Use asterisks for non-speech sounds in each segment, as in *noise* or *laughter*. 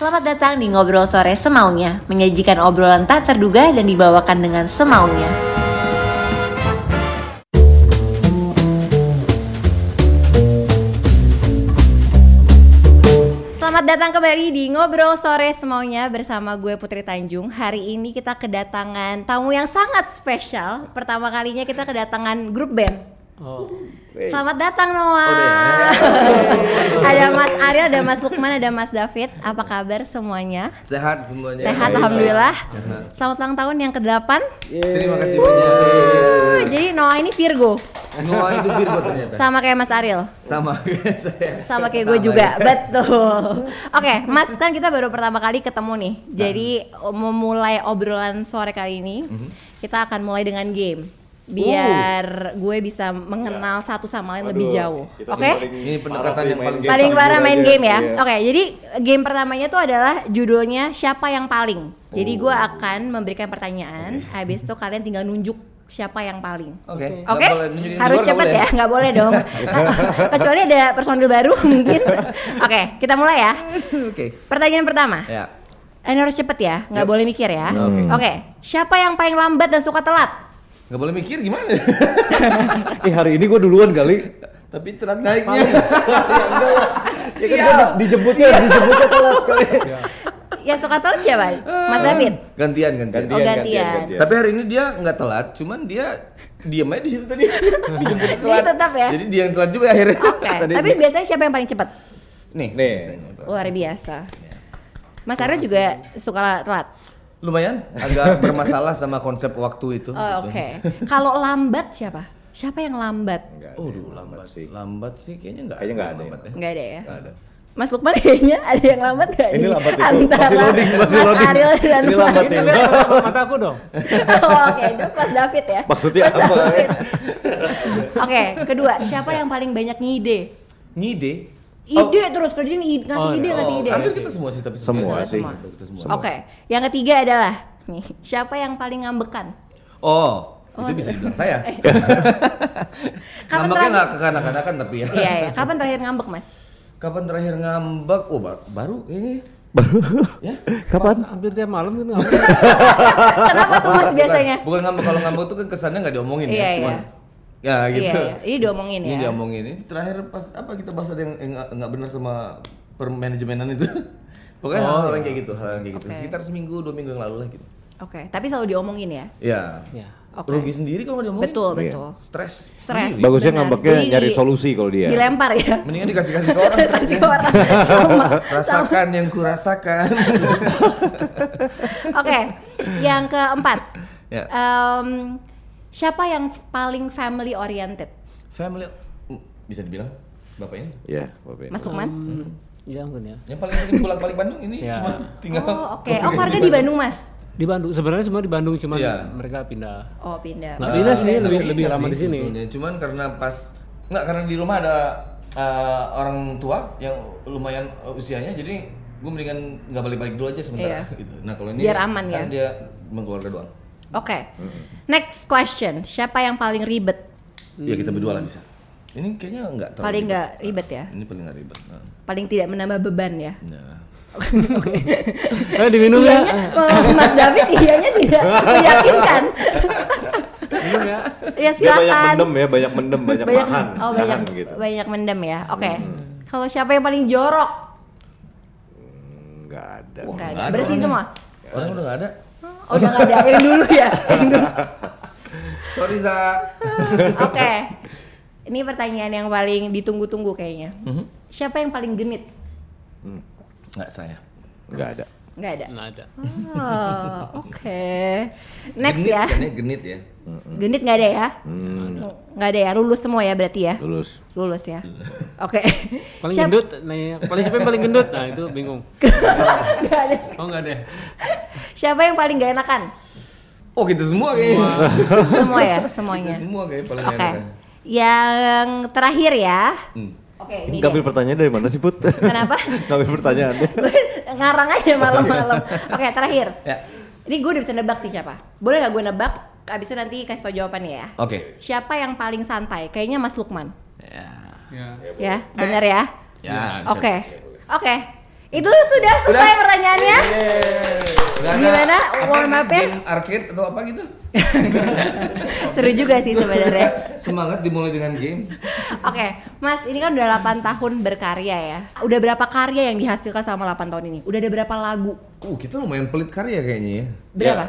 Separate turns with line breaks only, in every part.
Selamat datang di Ngobrol Sore Semaunya, menyajikan obrolan tak terduga dan dibawakan dengan semaunya. Selamat datang kembali di Ngobrol Sore Semaunya bersama gue Putri Tanjung. Hari ini kita kedatangan tamu yang sangat spesial. Pertama kalinya kita kedatangan grup band.
Oh,
Selamat datang Noah. *laughs* ada Mas Ariel, ada Mas Lukman, ada Mas David. Apa kabar semuanya?
Sehat semuanya.
Sehat
Baik.
Ya, alhamdulillah.
Sehat.
Selamat ulang tahun yang ke-8.
Terima kasih banyak.
Uh, jadi Noah ini Virgo
Noah itu Virgo ternyata.
sama kayak Mas Ariel.
Sama *laughs* kayak saya.
Sama kayak gue juga, betul. Oke, Mas kan kita baru pertama kali ketemu nih. Jadi memulai obrolan sore kali ini, kita akan mulai dengan game. Biar gue bisa mengenal satu sama lain lebih jauh. Oke?
Ini pendekatan yang paling
paling parah main game ya.
Iya.
Iya.
Oke, jadi game pertamanya tuh adalah judulnya siapa yang paling. Jadi gua
Oh.
akan memberikan pertanyaan, habis itu kalian tinggal nunjuk siapa yang paling.
Oke.
Oke,
Nggak boleh nunjukin
harus
keluar,
cepet
nggak
ya,
boleh.
nggak boleh dong. Kecuali ada personil baru *laughs* mungkin. Oke, kita mulai ya.
*laughs* Oke.
Pertanyaan pertama,
Ya.
ini harus cepet ya, nggak
Yuk.
boleh mikir ya.
Oke.
Oke, siapa yang paling lambat dan suka telat?
Enggak boleh mikir gimana? *laughs*
Eh hari ini gue duluan kali.
Tapi telat *laughs* naiknya.
Ya kan gua di- dijemputnya, dijemputnya
Oh,
telat kali.
Yang Ya, suka telat siapa? Mas
Eh. *laughs*
David.
Gantian gantian.
Oh, gantian.
Tapi hari ini dia nggak telat, cuman dia diam aja di situ
*laughs*
tadi. Dijemput telat.
tetap ya?
Jadi dia yang telat juga akhirnya.
Oke,
Tadi
tapi
dia-
biasanya siapa yang paling cepat?
*laughs* Nih.
Nih.
Luar biasa.
Iya.
Mas Aryo juga suka telat.
Lumayan agak bermasalah sama konsep waktu itu.
Oh, Oke.
gitu.
Kalau lambat siapa? Siapa yang lambat?
Oh, lambat sih.
Lambat sih kayaknya nggak.
Kayaknya nggak ada
lambat
yang
Nggak ada ya.
Nggak ada.
Mas Lukman *laughs* kayaknya ada yang lambat gak
Ini
nih?
lambat itu.
Antara
Masih loading, masih
Mas
loading.
Ariel dan
Ini
Mas-
lambat
Itu
ini.
iya,
kan sama mata aku dong.
*laughs* oh, Oke, itu Mas David ya.
Maksudnya
Mas
apa?
David. Oke, kedua siapa
Ya.
yang paling banyak ngide?
Ngide.
Oh.
Ide terus kerjain ide, ngasih
Oh,
ide,
Oh,
ngasih ide.
hampir kita semua sih tapi
iya. Semua
sebenarnya.
sih.
Hampir Kita semua.
Oke, yang ketiga adalah nih siapa yang paling ngambekan?
Oh, itu bisa dibilang saya.
iya. *laughs* Kapan
Ngambeknya
terakhir-
nggak kekanak-kanakan tapi ya.
Iya ya. Kapan terakhir ngambek
*laughs*
mas?
Kapan terakhir ngambek? Oh, ba- baru kayaknya. ya?
*laughs* Kapan?
Pas hampir tiap malam gitu.
Kenapa tuh mas
Bukan-
biasanya?
Bukan, ngambek kalau ngambek tuh kan kesannya nggak diomongin
Iya,
ya, cuman
iya.
ya gitu.
Iya, iya. Ini diomongin
Ini
ya.
diomongin. Ini terakhir pas apa kita bahas ada yang eh, nggak nggak benar sama permanajemenan itu. *laughs* Pokoknya hal-hal yang kayak gitu, hal yang kayak gitu.
Oh, iya. Oke.
Sekitar seminggu, dua minggu yang lalu lah gitu.
Oke, tapi selalu diomongin ya.
Ya.
Ya.
Oke.
Rugi sendiri kalau nggak diomongin.
Betul, betul.
Stres.
Stres.
sendiri.
Oh, iya. Bagusnya
Benar.
ngambeknya
Jadi
nyari
di-
solusi kalau dia.
Dilempar
*laughs*
ya.
Mendingan dikasih-kasih ke
*laughs*
orang
Kasih
stresnya.
orang. Sama.
Rasakan yang kurasakan. *laughs*
Oke, yang keempat.
Ya.
Em, siapa yang f- paling family oriented?
Family mm, bisa dibilang bapaknya
Ya, Bapak.
Mas Lukman?
Hmm, Iya mungkin ya.
yang paling sering bolak-balik Bandung ini
Ya.
cuma tinggal
Oh, oke. Oh, keluarga di Bandung, Mas.
Di Bandung sebenarnya semua di Bandung cuman
Iya.
mereka pindah. *laughs*
Oh, pindah.
Nah, pindah sih
Eh,
lebih
tapi
lebih
iya
lama
sih
di sini.
sebetulnya. Cuman karena pas nggak karena di rumah ada eh, orang tua yang lumayan eh, usianya jadi gue mendingan nggak balik-balik dulu aja sementara
Iya.
gitu. Nah, kalau ini
Biar aman ya.
kan dia mengeluarkan doang.
Oke. Next question. Siapa yang paling ribet?
Ya kita berdua lah bisa. Ini kayaknya nggak terlalu
Paling
ribet.
nggak ribet ya.
Ini paling nggak ribet. Nah.
Paling tidak menambah beban ya.
Nah.
Eh diminum ya.
Iyanya, eh, Mas David iyanya tidak meyakinkan.
Minum ya.
ya
Dia banyak
silakan.
mendem ya, banyak mendem, banyak, nahan,
oh banyak
nahan gitu. Hmm.
banyak mendem ya oke kalau siapa yang paling jorok
Enggak Ya, ada.
Nggak ada.
nggak ada
bersih
orangnya.
semua
Orang udah nggak ada.
oh, udah nggak ada yang dulu ya Yang dulu.
Sorry za.
oke ini pertanyaan yang paling ditunggu-tunggu kayaknya siapa yang paling genit
Nggak saya.
Enggak ada.
nggak ada
Nggak Nah, ada.
oh, oke next
genit,
ya
Kayaknya genit ya.
kan?
genit nggak ada ya
Hmm.
nggak ada ya lulus semua ya berarti ya
Lulus.
lulus
Iya.
ya
*laughs*
oke
Paling
Siap-
gendut nanya, paling siapa yang paling gendut? Nah, itu bingung.
*laughs* nggak ada.
Oh, enggak deh.
siapa yang paling gak enakan
Oh kita semua kayaknya.
semua ya
Kita
semuanya
semua kayaknya paling
Oke.
enakan.
Yang terakhir ya.
Hmm.
Oke, ini
Ngambil
deh.
pertanyaan dari mana sih, Put? *laughs*
Kenapa?
Ngambil pertanyaannya.
Gue *laughs* ngarang aja malam-malam. Oke, terakhir.
Ya.
Ini gue udah bisa nebak sih siapa. Boleh gak gue nebak? Abis itu nanti kasih tau jawabannya ya.
Oke.
Siapa yang paling santai? Kayaknya Mas Lukman.
Ya.
Ya.
Ya, benar ya?
Ya. bisa.
Oke. Oke. Itu sudah selesai
Udah? Iya,
pertanyaannya.
Nggak ada
Gimana
apa,
warm ya? up-nya?
Game arcade atau apa gitu? iya.
Seru juga sih sebenarnya.
Semangat dimulai dengan game.
Oke, Mas, ini kan udah 8 tahun berkarya ya. Udah berapa karya yang dihasilkan selama 8 tahun ini? Udah ada berapa lagu?
Uh, kita lumayan pelit karya kayaknya ya.
Berapa?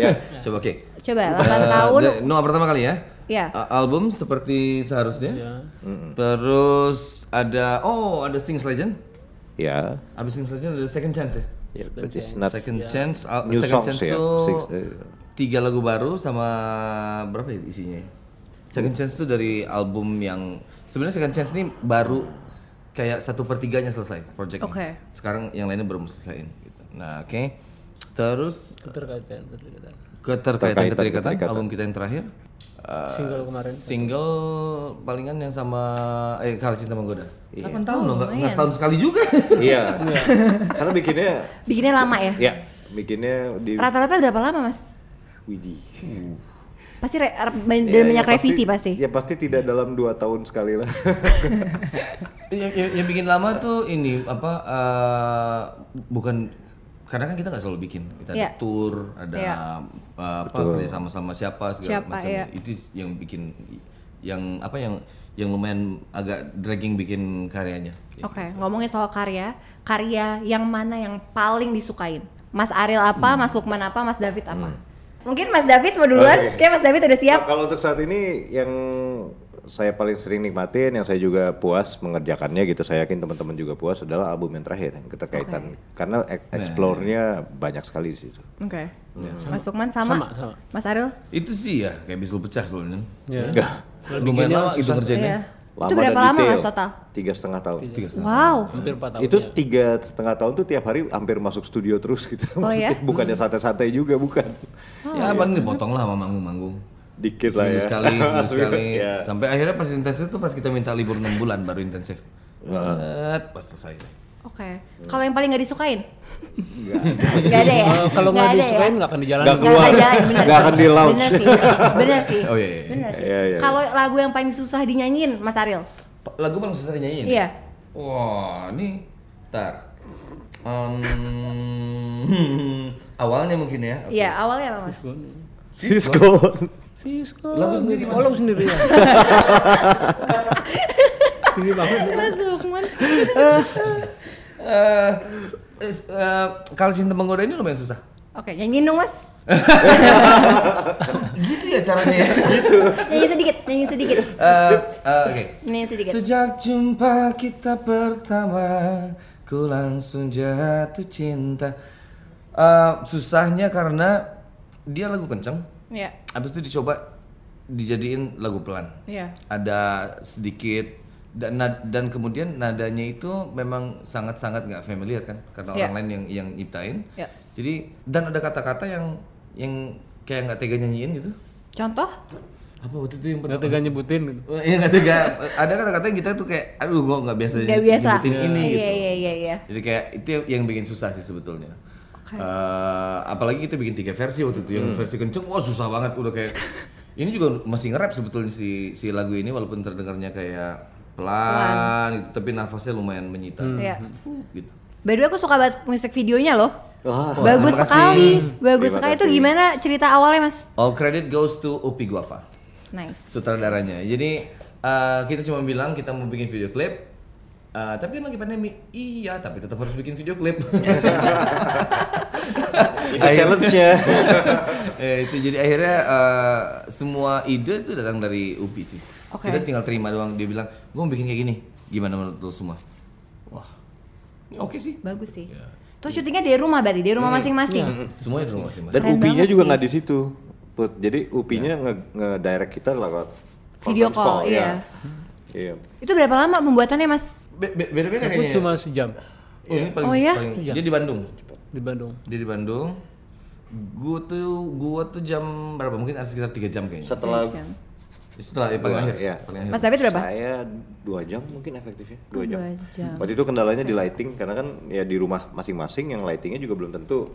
Ya.
*laughs* Coba oke.
Coba 8
Eh,
tahun.
da- Noah pertama kali ya.
Iya.
A- album seperti seharusnya.
Iya.
Terus ada oh ada Sings Legend.
Ya.
Abis Sings Legend ada Second Chance ya.
Ya, but it's not
Second Chance, al-
New
Second
songs
Chance
ya,
tuh
Sings- eh.
tiga lagu baru sama berapa ya isinya? ya?
Hmm.
Second Chance tuh dari album yang sebenarnya Second Chance ini baru kayak satu pertiganya selesai projectnya.
Oke.
Sekarang yang lainnya belum selesaiin. Gitu. Nah oke. Terus
Keterkaitan, keterkaitan.
keterkaitan
Terkaitan,
keterikatan
keterikatan.
album kita yang terakhir eh,
Single kemarin.
single palingan yang sama eh Kala Cinta Menggoda 8 tahun loh nggak nggak setahun sekali juga *laughs*
Iya. Karena bikinnya
Bikinnya lama ya?
ya, bikinnya di
Rata-rata berapa lama, Mas?
Widih.
Pasti re- re- dan
Ya, ya,
banyak revisi pasti.
Ya pasti tidak dalam 2 tahun sekali lah.
yang, yang- yang bikin lama tuh ini apa eh, bukan karena kan kita nggak selalu bikin kita ada
Iya.
tour ada
Iya.
eh, apa kerja sama sama siapa segala
Siapa,
macam
iya.
itu yang bikin yang apa yang yang lumayan agak dragging bikin karyanya
Oke, ngomongin soal karya, karya yang mana yang paling disukain? Mas Ariel
Hmm.
apa, Mas Lukman apa, Mas David apa? Mungkin Mas David mau duluan?
Oke.
Kayak Mas David udah siap.
Nah, *laughs* Kalau untuk saat ini yang saya paling sering nikmatin, yang saya juga puas mengerjakannya gitu, saya yakin teman-teman juga puas adalah album yang terakhir yang keterkaitan karena ek- explore-nya banyak sekali di situ.
Oke.
Ya,
Mas Lukman sama?
Sama, sama.
Mas Ariel?
itu sih ya kayak bisul pecah soalnya
Ya.
lumayan lama itu kerjanya
Iya. Itu berapa
dan
lama
detail.
Mas total?
Tiga setengah iya. tahun.
Tiga setengah.
Wow.
Hampir 4 tahun.
Itu tiga setengah tahun tuh tiap hari hampir masuk studio terus gitu.
Oh,
Maksudnya
ya?
bukannya santai-santai juga, bukan.
ya
Oh, iya.
paling dipotong lah sama manggung-manggung
Dikit lah
seminggu
ya.
sekali
*laughs*
seminggu sekali
Ya.
sampai akhirnya pas intensif tuh pas kita minta libur 6 bulan baru intensif Set, pas selesai
Oke. Kalau yang paling nggak disukain? *laughs* Nggak ada. ya?
Eh, Kalau- Kalau nggak
Nggak ada
disukain
ya?
nggak akan dijalani.
Nggak keluar.
Nggak jalan, bener.
Nggak akan di launch.
Bener sih. Bener sih.
Oh, iya, iya.
Bener sih.
Iya, iya, iya.
Kalau lagu yang paling susah dinyanyiin, Mas Ariel?
Pa- lagu paling susah dinyanyiin
Iya.
wah ini tar Em, Hmm. *laughs* awalnya mungkin ya oke.
Iya, awalnya apa, Mas?
Cisco.
Sisko.
Lagu sendiri,
Oh, lagu sendiri
*laughs*
ya. Tinggi banget.
Mas Lukman.
Eh, eh, eh, kalau cinta menggoda ini lumayan
*laughs*
susah
Oke, nyanyiin dong, Mas.
gitu ya caranya
*laughs*
ya?
Nyanyi sedikit, nyanyi sedikit.
Eh, eh, oke
Nyanyi sedikit.
Sejak jumpa kita pertama, ku langsung jatuh cinta. Eh, susahnya karena dia lagu kenceng,
Iya.
habis itu dicoba dijadiin lagu pelan.
Iya.
Ada sedikit dan nad- dan kemudian nadanya itu memang sangat-sangat nggak familiar kan karena
Iya.
orang lain yang yang nyiptain.
Iya.
Jadi dan ada kata-kata yang yang kayak nggak tega nyanyiin gitu.
Contoh?
Apa waktu itu yang
Nggak tega nyebutin. gitu.
Iya nggak tega. Ada kata-kata yang kita tuh kayak, aduh gua nggak biasa
Nggak biasa.
nyebutin ini gitu.
Iya, iya, iya, iya.
Jadi kayak itu yang- yang bikin susah sih sebetulnya. Eh, apalagi kita bikin tiga versi waktu itu, yang
Hmm.
versi kenceng, wah susah banget. Udah kayak ini juga masih nge-rap sebetulnya si si lagu ini walaupun terdengarnya kayak pelan, gitu, tapi nafasnya lumayan menyita.
Iya.
Uh, Gitu.
By the way, aku suka banget musik videonya loh.
Wah,
bagus
terima kasih.
sekali, bagus
Terima
sekali. Itu
kasih.
gimana cerita awalnya, Mas?
All credit goes to Upi Guava.
Nice.
sutradaranya. Jadi eh, kita cuma bilang kita mau bikin video klip, eh, tapi kan lagi pandemi. Iya, tapi tetap harus bikin video klip. *laughs*
itu challenge-nya.
*laughs*
*laughs*
Eh, itu jadi akhirnya eh, semua ide itu datang dari Upi sih.
Oke.
Kita tinggal terima doang. Dia bilang, gue mau bikin kayak gini. Gimana menurut lo semua? Wah, ini oke sih.
Bagus sih.
Ya.
Terus syutingnya dari rumah berarti, dari
Iya.
rumah masing-masing.
Semuanya di rumah sih mas.
Dan
Keren
UPI-nya
banget
juga
sih.
nggak di situ. Put. Jadi UPI-nya nge- nge-direct kita lewat
Video call,
conference
iya.
Iya.
Itu berapa lama pembuatannya, Mas?
Be- be- Beda-beda
Aku
kayaknya. ya?
cuma sejam
Oh, ini paling,
Oh, iya?
paling- dia di Bandung.
di Bandung.
Dia di Bandung. Gue tuh gua tuh jam berapa? Mungkin ada sekitar 3 jam kayaknya.
Setelah
Setelah ya, paling
Dua,
akhir.
iya.
Paling akhir.
Mas David berapa?
saya dua jam mungkin efektifnya dua
Oh,
jam.
dua jam.
Waktu itu kendalanya di lighting karena kan ya di rumah masing-masing yang lightingnya juga belum tentu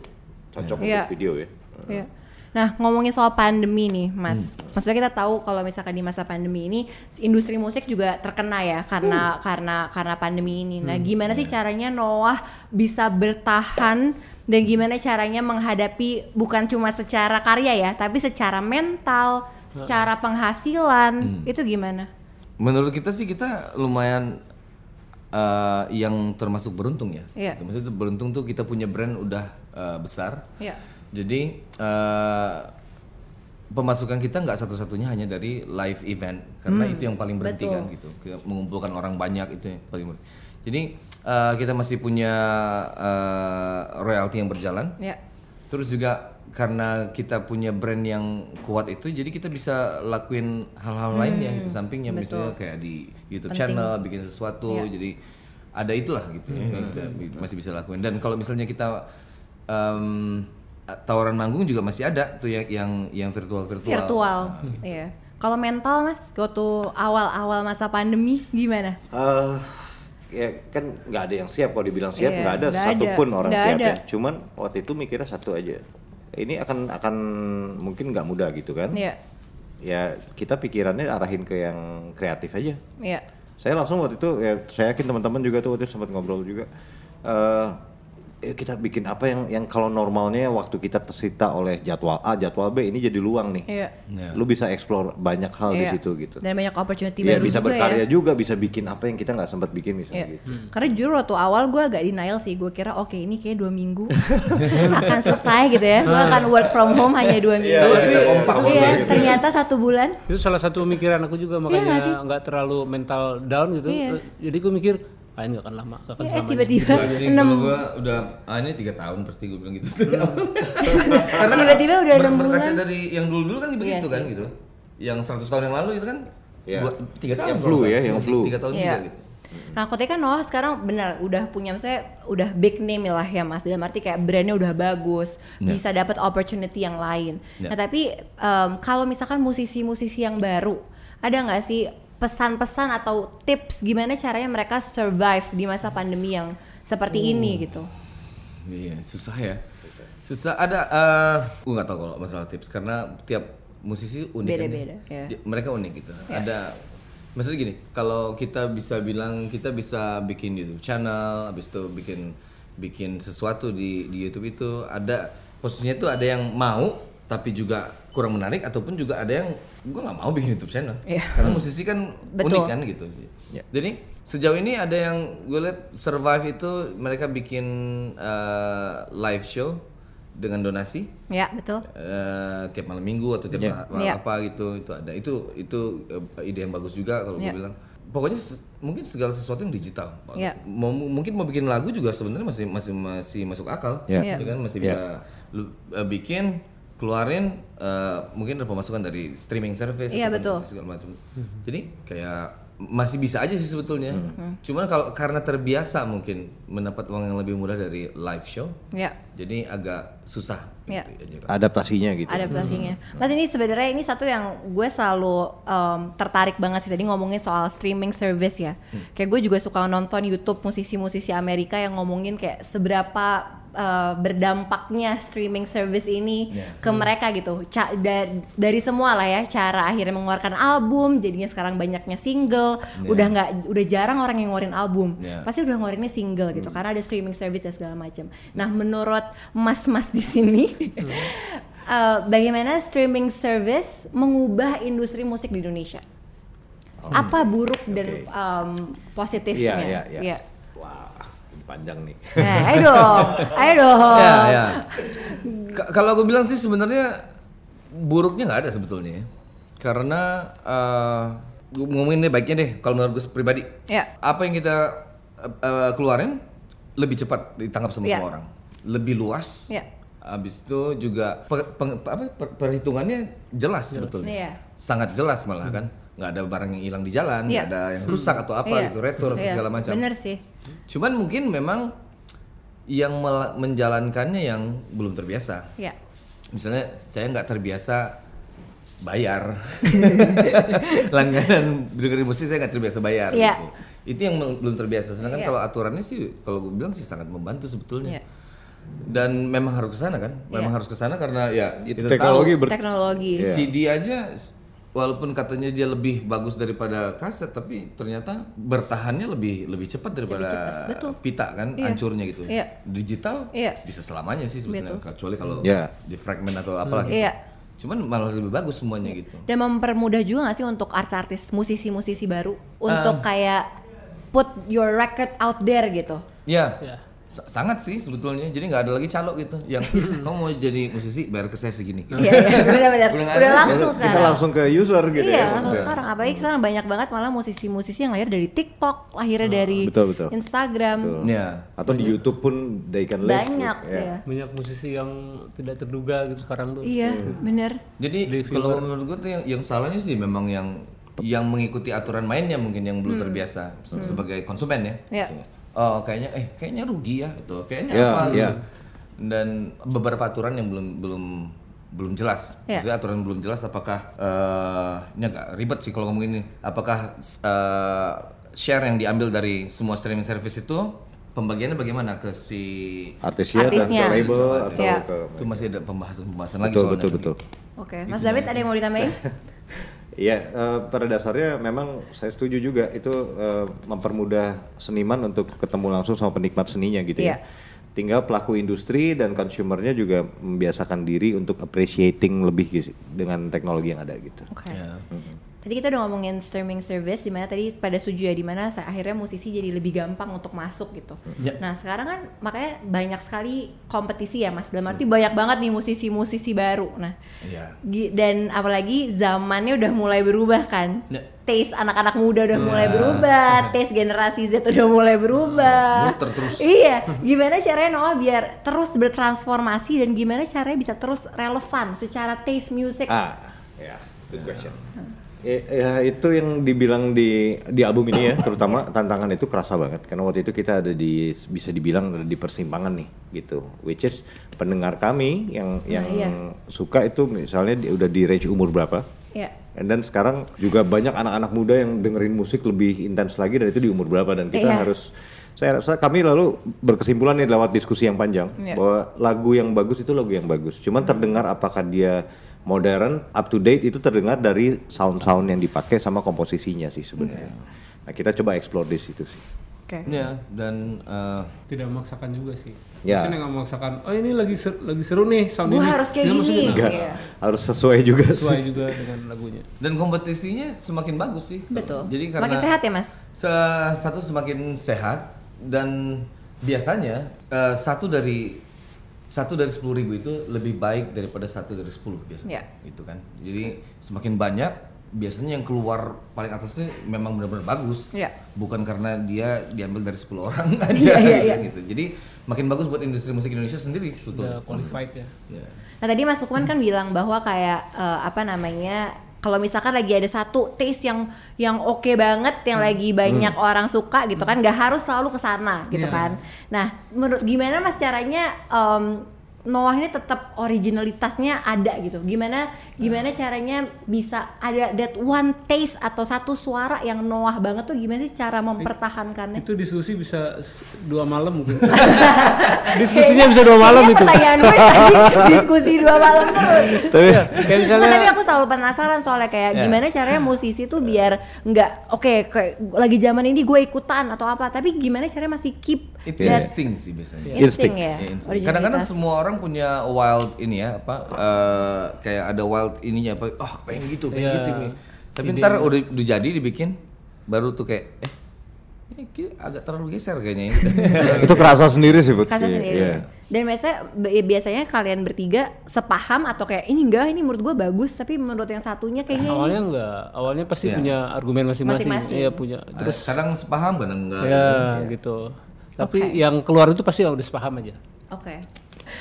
cocok
Iya.
untuk video ya.
Iya. Nah, ngomongin soal pandemi nih, Mas.
Hmm.
Maksudnya kita tahu kalau misalkan di masa pandemi ini industri musik juga terkena ya
Hmm.
karena karena karena pandemi ini. Nah, gimana
Iya.
sih caranya Noah bisa bertahan dan gimana caranya menghadapi bukan cuma secara karya ya, tapi secara
Nah.
mental, secara
Hmm.
penghasilan. Itu gimana?
Menurut kita sih kita lumayan eh, yang termasuk beruntung ya.
Iya.
Maksudnya beruntung tuh kita punya brand udah eh, besar.
Ya.
Jadi eh, pemasukan kita nggak satu-satunya hanya dari live event karena itu yang paling berhenti kan gitu. Ke- Mengumpulkan orang banyak itu yang paling berhenti. Jadi eh, kita masih punya eh, royalti yang berjalan.
Ya.
Terus juga karena kita punya brand yang kuat itu, jadi kita bisa lakuin hal-hal lain ya di sampingnya, misalnya kayak di YouTube channel, bikin sesuatu, jadi ada itulah gitu ya, kita bi- masih bisa lakuin. Dan kalau misalnya kita em, tawaran manggung juga masih ada tuh yang yang yang virtual virtual.
Virtual. Iya. Kalau mental, Mas, waktu awal-awal masa pandemi gimana?
Eh, ya kan nggak ada yang siap kalau dibilang siap
Iya,
nggak ada
nggak
satupun
ada,
orang
nggak
siap
ada.
ya. Cuman waktu itu mikirnya satu aja. Ini akan akan mungkin nggak mudah gitu kan?
Iya.
Ya kita pikirannya arahin ke yang kreatif aja.
Iya.
saya langsung waktu itu ya saya yakin teman-teman juga tuh waktu itu sempat ngobrol juga eh eh, kita bikin apa yang yang kalau normalnya waktu kita tersita oleh jadwal A jadwal B ini jadi luang nih
Iya.
Iya.
lu bisa explore banyak hal di
Iya.
situ gitu
Dan banyak opportunity
Iya
baru
bisa
juga
berkarya
ya.
juga bisa bikin apa yang kita nggak sempat bikin misalnya
Iya.
gitu
Karena jujur waktu awal gue agak denial sih, gue kira oke ini kayak dua minggu *laughs* akan selesai gitu ya, gue akan work from home hanya dua minggu.
Kalau kita kompak
Iya,
maksudnya gitu.
ternyata satu bulan.
Itu salah satu pemikiran aku juga
Iya nggak sih?
makanya nggak terlalu mental down gitu.
Iya.
Eh, Jadi aku mikir, ah ini nggak akan lama, nggak akan
Eh
selamanya.
tiba-tiba
Gua sih,
*laughs* enam,
kalau gua udah ah ini tiga tahun pasti gue bilang *laughs* gitu. Karena
Tiba-tiba udah
ber-
enam
berkaca
bulan. Iya
dari yang dulu dulu kan begitu kan gitu. Yang 100 tahun yang lalu itu kan
Iya.
dua, tiga tahun
Yang flu
kalau
ya,
nggak
yang
salah.
flu.
Tiga tahun
Iya.
juga gitu.
Nah, kotanya kan Noah sekarang benar udah punya saya udah big name lah ya Mas. Dalam arti kayak brandnya udah bagus, bisa dapat opportunity yang lain.
Ya.
Nah, tapi em, kalau misalkan musisi-musisi yang baru, ada nggak sih pesan-pesan atau tips gimana caranya mereka survive di masa pandemi yang seperti ini gitu?
Iya, susah ya. Susah ada eh gue nggak tahu kalau masalah tips karena tiap musisi unik kan ya.
Beda-beda, ya.
Di- Mereka unik gitu.
Iya.
Ada maksudnya gini, kalau kita bisa bilang kita bisa bikin YouTube channel, habis itu bikin bikin sesuatu di di YouTube itu ada posisinya tuh ada yang mau tapi juga kurang menarik ataupun juga ada yang gue nggak mau bikin YouTube channel
Iya.
karena musisi kan
Betul. Iya.
unik kan gitu. Jadi sejauh ini ada yang gue lihat survive itu mereka bikin eh, live show dengan donasi
Ya, betul.
eh, tiap malam minggu atau tiap ma- ma-
Iya.
apa gitu itu ada itu itu eh, ide yang bagus juga kalau gue
Iya.
bilang pokoknya se- mungkin segala sesuatu yang digital
Iya.
mau mungkin mau bikin lagu juga sebenarnya masih masih masih masuk akal
Iya.
Iya.
Gitu kan masih bisa lu, eh, bikin keluarin eh, mungkin ada pemasukan dari streaming service
Iya,
gitu kan,
betul.
segala macam jadi kayak masih bisa aja sih sebetulnya
Hmm.
cuman kalau karena terbiasa mungkin mendapat uang yang lebih murah dari live show
Ya.
jadi agak susah
Iya.
gitu, ya.
adaptasinya gitu
adaptasinya. Mas ini sebenarnya ini satu yang gue selalu em, tertarik banget sih tadi ngomongin soal streaming service ya. Kayak gue juga suka nonton YouTube musisi-musisi Amerika yang ngomongin kayak seberapa eh, berdampaknya streaming service ini ke mereka gitu. Ca- da- dari semua lah ya cara akhirnya mengeluarkan album, jadinya sekarang banyaknya single, udah nggak udah jarang orang yang ngeluarin album.
Yeah.
Pasti udah ngeluarinnya single gitu karena ada streaming service dan segala macam. Nah, menurut mas-mas di sini eh, bagaimana streaming service mengubah industri musik di Indonesia? Apa buruk dan
Oke.
em, positifnya?
iya iya iya
Iya.
wah panjang nih
Nah, ayo dong, ayo dong.
Ya, ya. Ka- Kalau aku bilang sih sebenarnya buruknya nggak ada sebetulnya, ya. karena eh, gua ngomongin deh baiknya deh. Kalau menurut gue pribadi,
Ya.
apa yang kita eh, eh, keluarin lebih cepat ditangkap sama
Ya.
semua orang, lebih luas.
Ya.
Habis itu juga per- peng- apa, per- perhitungannya jelas sebetulnya,
Iya.
sangat jelas malah
Hmm.
kan, nggak ada barang yang hilang di jalan, nggak
Iya.
ada yang rusak atau apa
Iya.
gitu, retur atau
Iya,
segala macam.
Bener sih.
Cuman mungkin memang yang mela- menjalankannya yang belum terbiasa.
Ya.
Misalnya saya nggak terbiasa
*laughs*
bayar langganan dengerin musik saya nggak terbiasa bayar.
Iya.
gitu. Itu yang mel- belum terbiasa. Sedangkan
Iya.
kalau aturannya sih, kalau gue bilang sih sangat membantu sebetulnya.
Iya.
dan memang harus ke sana kan memang
Iya.
harus ke sana karena ya itu
teknologi ber
teknologi.
tahu, CD aja walaupun katanya dia lebih bagus daripada kaset tapi ternyata bertahannya lebih lebih cepat daripada
betul.
pita kan hancurnya gitu
Iya.
digital
Iya.
bisa selamanya sih sebetulnya kecuali kalau
Iya.
di fragment atau apalah gitu.
Iya.
cuman malah lebih bagus semuanya gitu
Dan mempermudah juga gak sih untuk artis-artis, musisi-musisi baru
Ah.
untuk kayak put your record out there gitu.
ya
Iya.
sa- sangat sih sebetulnya jadi nggak ada lagi calo gitu yang
*laughs*
kamu mau jadi musisi bayar ke saya segini gitu.
Iya, iya, benar-benar. Udah,
Udah nggak ada.
langsung sekarang.
Hmm. kita langsung ke user gitu
iya,
ya
langsung sekarang. Apalagi sekarang banyak banget malah musisi-musisi yang lahir dari TikTok,
Ah,
lahirnya dari
Betul, betul.
Instagram.
ya
atau di YouTube pun they can live
Banyak
ya.
ya.
Banyak musisi yang tidak terduga gitu sekarang tuh.
Iya,
Hmm.
bener.
Jadi kalau menurut gue tuh yang, yang salahnya sih memang yang yang mengikuti aturan mainnya mungkin yang belum terbiasa se- sebagai konsumen ya.
Iya.
Oh kayaknya eh kayaknya rugi ya itu kayaknya
Iya,
apa gitu.
iya.
dan beberapa aturan yang belum belum belum jelas.
Iya.
Maksudnya aturan belum jelas apakah eh ini agak ribet sih kalau ngomongin ini. Apakah eh, share yang diambil dari semua streaming service itu pembagiannya bagaimana ke si
artisnya,
Artisnya.
dan ke label atau
Iya.
ke gitu.
itu masih ada pembahasan-pembahasan lagi
betul
soalnya.
betul betul
Oke, Mas David ada yang mau ditambahin?
*laughs* Iya, eh, pada dasarnya memang saya setuju juga itu eh, mempermudah seniman untuk ketemu langsung sama penikmat seninya gitu
Iya.
ya. Tinggal pelaku industri dan konsumernya juga membiasakan diri untuk appreciating lebih gitu, dengan teknologi yang ada gitu.
Oke.
Ya.
Tadi kita udah ngomongin streaming service di mana tadi pada setuju ya di mana sa- akhirnya musisi jadi lebih gampang untuk masuk gitu.
Ya.
Nah, sekarang kan makanya banyak sekali kompetisi ya Mas. Dalam arti banyak banget nih musisi-musisi baru. Nah,
Iya.
gi- dan apalagi zamannya udah mulai berubah kan.
Ya. Iya.
Taste anak-anak muda udah mulai
*laughs*
berubah, taste generasi Z udah mulai berubah.
Muter terus.
Iya, gimana caranya Noah biar terus bertransformasi dan gimana caranya bisa terus relevan secara taste music
Ah, ya, good question. Eh, ya, itu yang dibilang di di album ini ya, terutama tantangan itu kerasa banget karena waktu itu kita ada di bisa dibilang ada di persimpangan nih gitu, which is pendengar kami yang yang
iya.
suka itu misalnya di- udah di range umur berapa,
Ya.
and then sekarang juga banyak anak-anak muda yang dengerin musik lebih intens lagi dan itu di umur berapa dan kita
Iya.
harus saya rasa kami lalu berkesimpulan nih lewat diskusi yang panjang
Iya.
bahwa lagu yang bagus itu lagu yang bagus. Cuman terdengar apakah dia modern, up to date itu terdengar dari sound-sound yang dipakai sama komposisinya sih sebenarnya.
Iya.
Nah, kita coba explore di situ sih.
Oke.
Ya, dan eh,
Tidak memaksakan juga sih.
Ya.
Maksudnya nggak memaksakan. Oh ini lagi seru, lagi seru nih sound
Gua
ini.
harus kayak
Kita masukin
gini.
nggak?
Enggak,
Iya.
harus sesuai juga sih.
Sesuai juga dengan lagunya.
dan kompetisinya semakin bagus sih.
Betul.
Jadi karena
Semakin sehat ya, Mas?
se- satu semakin sehat dan biasanya eh, satu dari satu dari sepuluh ribu itu lebih baik daripada satu dari sepuluh biasanya.
Iya.
Gitu kan. Jadi semakin banyak biasanya yang keluar paling atas itu memang benar-benar bagus.
Iya.
Bukan karena dia diambil dari 10
*laughs*
orang aja
iya, iya.
gitu. Jadi makin bagus buat industri musik Indonesia sendiri
Udah
sebetulnya.
qualified ya.
Iya.
Nah tadi Mas Sukman kan bilang bahwa kayak eh, apa namanya kalau misalkan lagi ada satu taste yang yang oke banget yang
Hmm.
lagi banyak orang suka gitu kan nggak harus selalu ke sana gitu
Iya.
kan. Nah menurut gimana Mas caranya em, Noah ini tetap originalitasnya ada gitu. Gimana gimana
Ah.
caranya bisa ada that one taste atau satu suara yang Noah banget tuh gimana sih cara mempertahankannya?
Itu diskusi bisa s- dua malam
*laughs*
mungkin. *laughs* Diskusinya bisa dua malam
Kayaknya
itu.
Pertanyaan gue tadi diskusi dua malam terus.
*laughs* Tapi
*laughs* Kayak
Nah, tapi
misalnya
aku selalu penasaran soalnya kayak gimana caranya musisi tuh biar nggak oke kayak lagi zaman ini gue ikutan atau apa tapi gimana caranya masih keep
Itu
that
insting sih biasanya.
instinct ya,
Ya, insting.
originalitas.
Kadang-kadang semua orang punya wild ini ya apa eh, kayak ada wild ininya apa oh pengen gitu pengen
Iya. ya.
gitu pengen. tapi ntar udah, udah jadi dibikin baru tuh kayak eh ini ki- agak terlalu geser kayaknya
*laughs*
ini.
itu kerasa sendiri sih, Put.
kata
Iya,
sendiri.
iya.
Dan biasanya bi- biasanya kalian bertiga sepaham atau kayak ini enggak ini menurut gue bagus tapi menurut yang satunya kayaknya ini
awalnya enggak, awalnya pasti punya argumen masing-masing.
Masing-masing.
Iya punya.
Terus
Terus
kadang sepaham kadang enggak.
ya gitu. Tapi yang keluar itu pasti udah sepaham aja.
oke.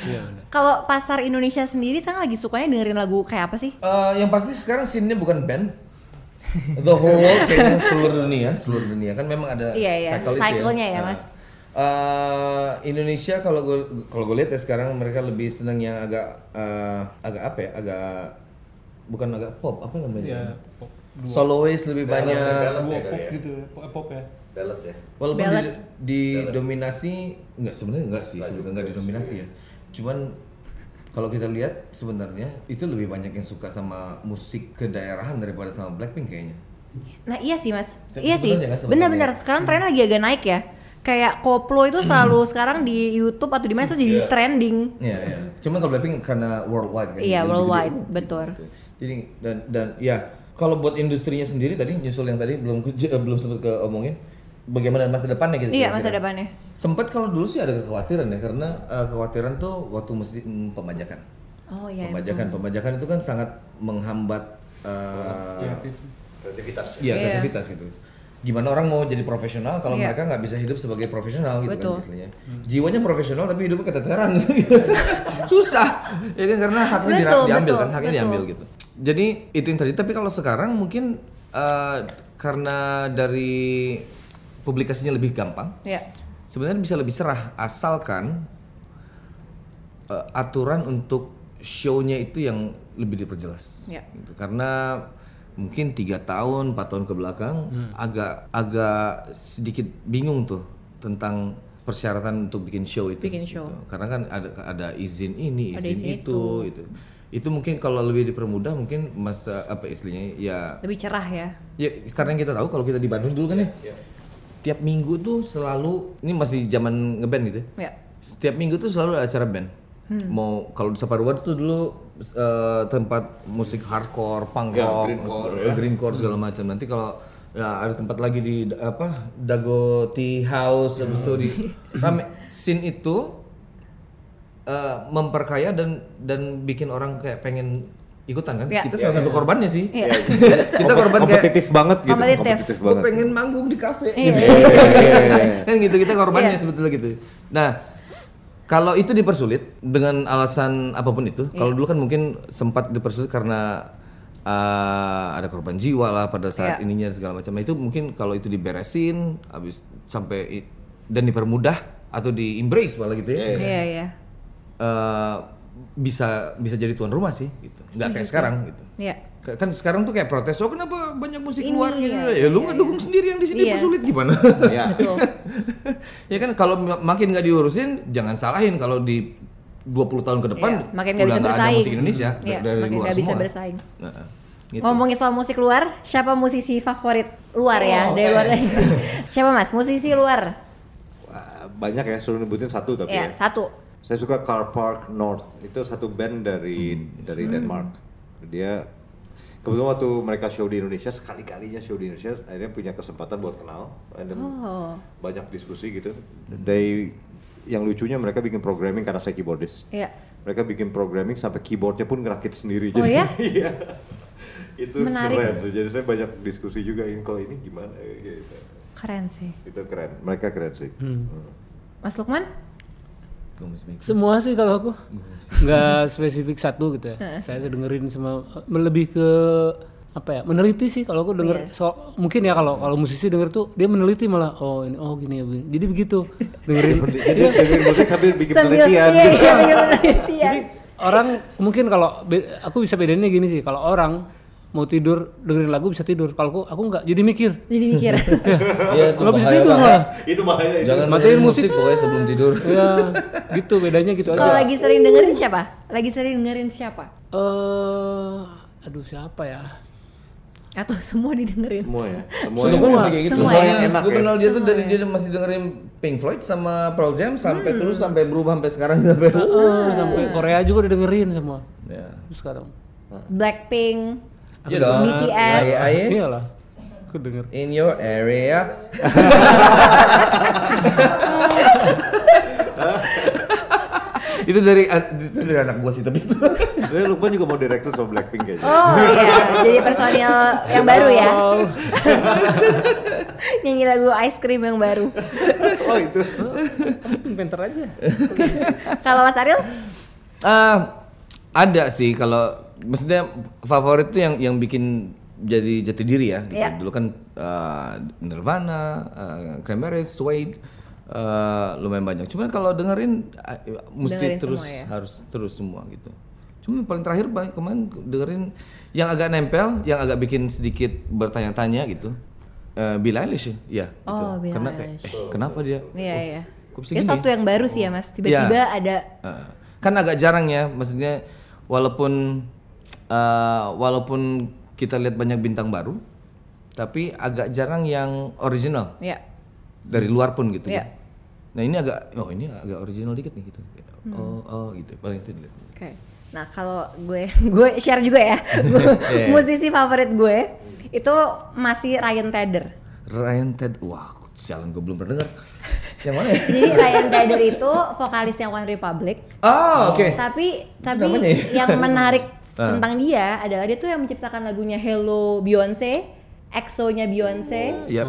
Iya. udah.
Kalau pasar Indonesia sendiri sekarang lagi sukanya dengerin lagu kayak apa sih?
Eh, yang pasti sekarang scene-nya bukan band. The whole world kayaknya seluruh dunia, seluruh dunia kan memang ada
Iya, iya.
itu
Cycle-nya ya, Mas.
Nah, eh, Indonesia kalau gue kalau gue lihat ya sekarang mereka lebih seneng yang agak eh, agak apa ya agak bukan agak pop apa namanya
Iya. pop.
Soloist lebih banyak.
Ballad ya kali
pop
ya.
gitu, pop, pop ya.
Ballad ya.
Walaupun
Ballad.
di- didominasi enggak sebenarnya enggak sih, sebenarnya enggak didominasi ya. Cuman kalau kita lihat sebenarnya itu lebih banyak yang suka sama musik kedaerahan daripada sama Blackpink kayaknya.
Nah iya sih mas,
Se-
iya sih.
sebenarnya kan sebenarnya.
Benar-benar sekarang tren lagi agak naik ya. Kayak koplo itu selalu sekarang di YouTube atau di mana itu jadi trending.
Iya, iya. Cuman kalau Blackpink karena worldwide kan.
Iya
jadi
worldwide,
gede.
betul.
Jadi dan dan ya kalau buat industrinya sendiri tadi nyusul yang tadi belum ke, eh, belum sempat ke omongin bagaimana masa depannya gitu.
Iya
kira-kira.
masa depannya.
Sempat kalau dulu sih ada kekhawatiran ya karena eh, kekhawatiran tuh waktu mesti mm, pembajakan.
Oh iya.
pembajakan, pembajakan itu kan sangat menghambat eh,
Kreativitas.
iya kreativitas gitu. Gimana orang mau jadi profesional kalau
Iya.
mereka nggak bisa hidup sebagai profesional gitu
Betul.
kan istilahnya. Jiwanya profesional tapi hidupnya
*laughs*
keteteran. gitu. Susah. Ya kan karena haknya dira-
Betul,
diambil
betul,
kan, haknya
betul.
diambil gitu. Jadi itu yang terjadi tapi kalau sekarang mungkin eh, karena dari publikasinya lebih gampang
Iya.
sebenarnya bisa lebih cerah asalkan eh, aturan untuk show-nya itu yang lebih diperjelas.
Ya.
Gitu. Karena mungkin tiga tahun, 4 tahun ke belakang agak agak sedikit bingung tuh tentang persyaratan untuk bikin show itu.
Bikin show.
gitu. Karena kan ada ada izin ini, izin,
Ada izin
itu, itu. Itu mungkin kalau lebih dipermudah mungkin masa apa istilahnya ya
Lebih cerah ya.
Ya, karena yang kita tahu kalau kita di Bandung dulu
Iya,
kan ya. Tiap minggu tuh selalu ini masih zaman ngeband gitu.
Iya.
ya. Setiap minggu tuh selalu ada acara band. Mau kalau di Saparua tuh dulu eh, tempat musik hardcore, punk
Iya,
rock,
ya.
eh, greencore segala
Hmm.
macam. Nanti kalau ya, ada tempat lagi di apa Dago Tea House habis itu di rame scene itu eh, memperkaya dan dan bikin orang kayak pengen ikutan kan.
Ya.
Kita salah satu korbannya sih.
Iya.
Kita korban kayak
kompetitif banget gitu.
Kompetitif.
gue pengen manggung di kafe gitu. kan gitu kita korbannya sebetulnya gitu nah kalau itu dipersulit dengan alasan apapun itu kalau dulu kan mungkin sempat dipersulit karena eh, ada korban jiwa lah pada
Iya.
saat ininya segala macam Nah, itu mungkin kalau itu diberesin habis sampai i- dan dipermudah atau di embrace malah gitu ya
Iya iya.
eh, bisa bisa jadi tuan rumah sih gitu nggak kayak sekarang gitu
Iya.
Ka- kan sekarang tuh kayak protes oh kenapa banyak musik
Ini,
luar gitu
iya,
ya lu nggak dukung sendiri yang di sini
Iya.
persulit gimana *laughs*
Iya.
Betul.
ya kan kalau ma- makin nggak diurusin jangan salahin kalau di 20 tahun ke depan
Iya, makin nggak
udah
bisa
nggak ada
bersaing.
musik Indonesia da-
Iya,
dari
makin
luar
nggak bisa
semua.
bersaing.
Nah, gitu.
Ngomongin soal musik luar, siapa musisi favorit luar ya
Oh,
dari
oke.
luar? siapa mas? Musisi luar?
Wah, banyak ya suruh nyebutin satu tapi
Iya
ya.
satu.
Saya suka Car Park North. Itu satu band dari dari Denmark. Dia kebetulan waktu mereka show di Indonesia sekali-kalinya show di Indonesia akhirnya punya kesempatan buat kenal dan
Oh.
banyak diskusi gitu. Dari yang lucunya mereka bikin programming karena saya keyboardist.
Iya.
Mereka bikin programming sampai keyboardnya pun ngerakit sendiri.
Oh ya?
*laughs* Iya. Itu
Menarik.
keren. tuh. Jadi saya banyak diskusi juga ini kalau ini gimana gitu.
Keren sih.
Itu keren. Mereka keren sih. Hmm.
Mas Lukman?
Gua mesti mikir.
Semua sih kalau aku nggak spesifik satu gitu ya. Saya tuh dengerin semua lebih ke apa ya meneliti sih kalau aku denger
Iya.
so- mungkin ya kalau kalau musisi denger tuh dia meneliti malah oh ini oh gini ya begini. jadi begitu dengerin
Jadi
Iya.
dengerin musik sambil bikin
Sambil- Iya,
penelitian.
iya, sambil penelitian.
orang mungkin kalau be- aku bisa bedainnya gini sih kalau orang mau tidur dengerin lagu bisa tidur kalau aku aku nggak jadi mikir
Jadi mikir.
Ya, itu
nggak bisa
bahaya
tidur
banget.
malah
*laughs* Itu bahaya.
jangan
Matiin
matiin musik.
musik.
pokoknya sebelum tidur
ya gitu bedanya gitu
Kalau
aja
lagi sering dengerin siapa? Lagi sering dengerin siapa?
eh aduh siapa ya
Atau semua didengerin?
Semua ya. Semua.
Semua
yang-
musik kayak gitu.
Semua
Semua
ya.
yang enak. Gue
ya.
kenal dia tuh dari dia masih dengerin Pink Floyd sama Pearl Jam sampai
Hmm.
terus sampai berubah sampai sekarang sampai.
Heeh, sampai Korea juga didengerin semua
Ya.
terus sekarang
Blackpink,
Iya dong.
BTS.
Aye, aye.
iyalah aku denger
In your area. *laughs* itu dari eh, itu dari anak gua sih tapi itu.
Saya lupa juga mau direkrut sama Blackpink ya,
*laughs*
kayaknya.
Oh iya, jadi personil yang baru ya. Nyanyi lagu ice cream yang baru.
Oh, itu.
pinter aja
Kalau Mas Ariel?
Ah, ada sih kalau maksudnya favorit tuh yang yang bikin jadi jati diri ya. gitu.
Iya.
Dulu kan ah, Nirvana, ah, Cranberries, Suede ah, lumayan banyak. Cuman kalau dengerin ah, mesti
Dengerin
terus
semua ya?
harus terus semua gitu. Cuma yang paling terakhir paling kemarin dengerin yang agak nempel, yang agak bikin sedikit bertanya-tanya gitu. Eh Billie Eilish ya, gitu.
Oh, Billie
Karena kayak, eh, kenapa dia?
Iya iya.
kok bisa
Itu
gini
satu yang baru sih ya mas. Tiba-tiba
Iya.
ada
Eh, kan agak jarang ya, maksudnya walaupun eh, walaupun kita lihat banyak bintang baru, tapi agak jarang yang original.
ya.
dari luar pun gitu
Iya.
ya. Nah ini agak, oh ini agak original dikit nih gitu. Oh, oh gitu, paling itu dilihat.
Oke. Nah kalau gue gue share juga ya. Gue-
*laughs* Iya.
Musisi favorit gue itu masih Ryan Tedder.
Ryan Ted, wah sialan gue belum pernah denger. Yang mana ya?
Jadi Ryan Tedder itu vokalisnya One Republic.
Oh oke.
Tapi tapi
namanya ya? *laughs* Ah.
yang menarik tentang dia adalah dia tuh yang menciptakan lagunya Hello Beyonce, EXO-nya Beyonce.
Ya.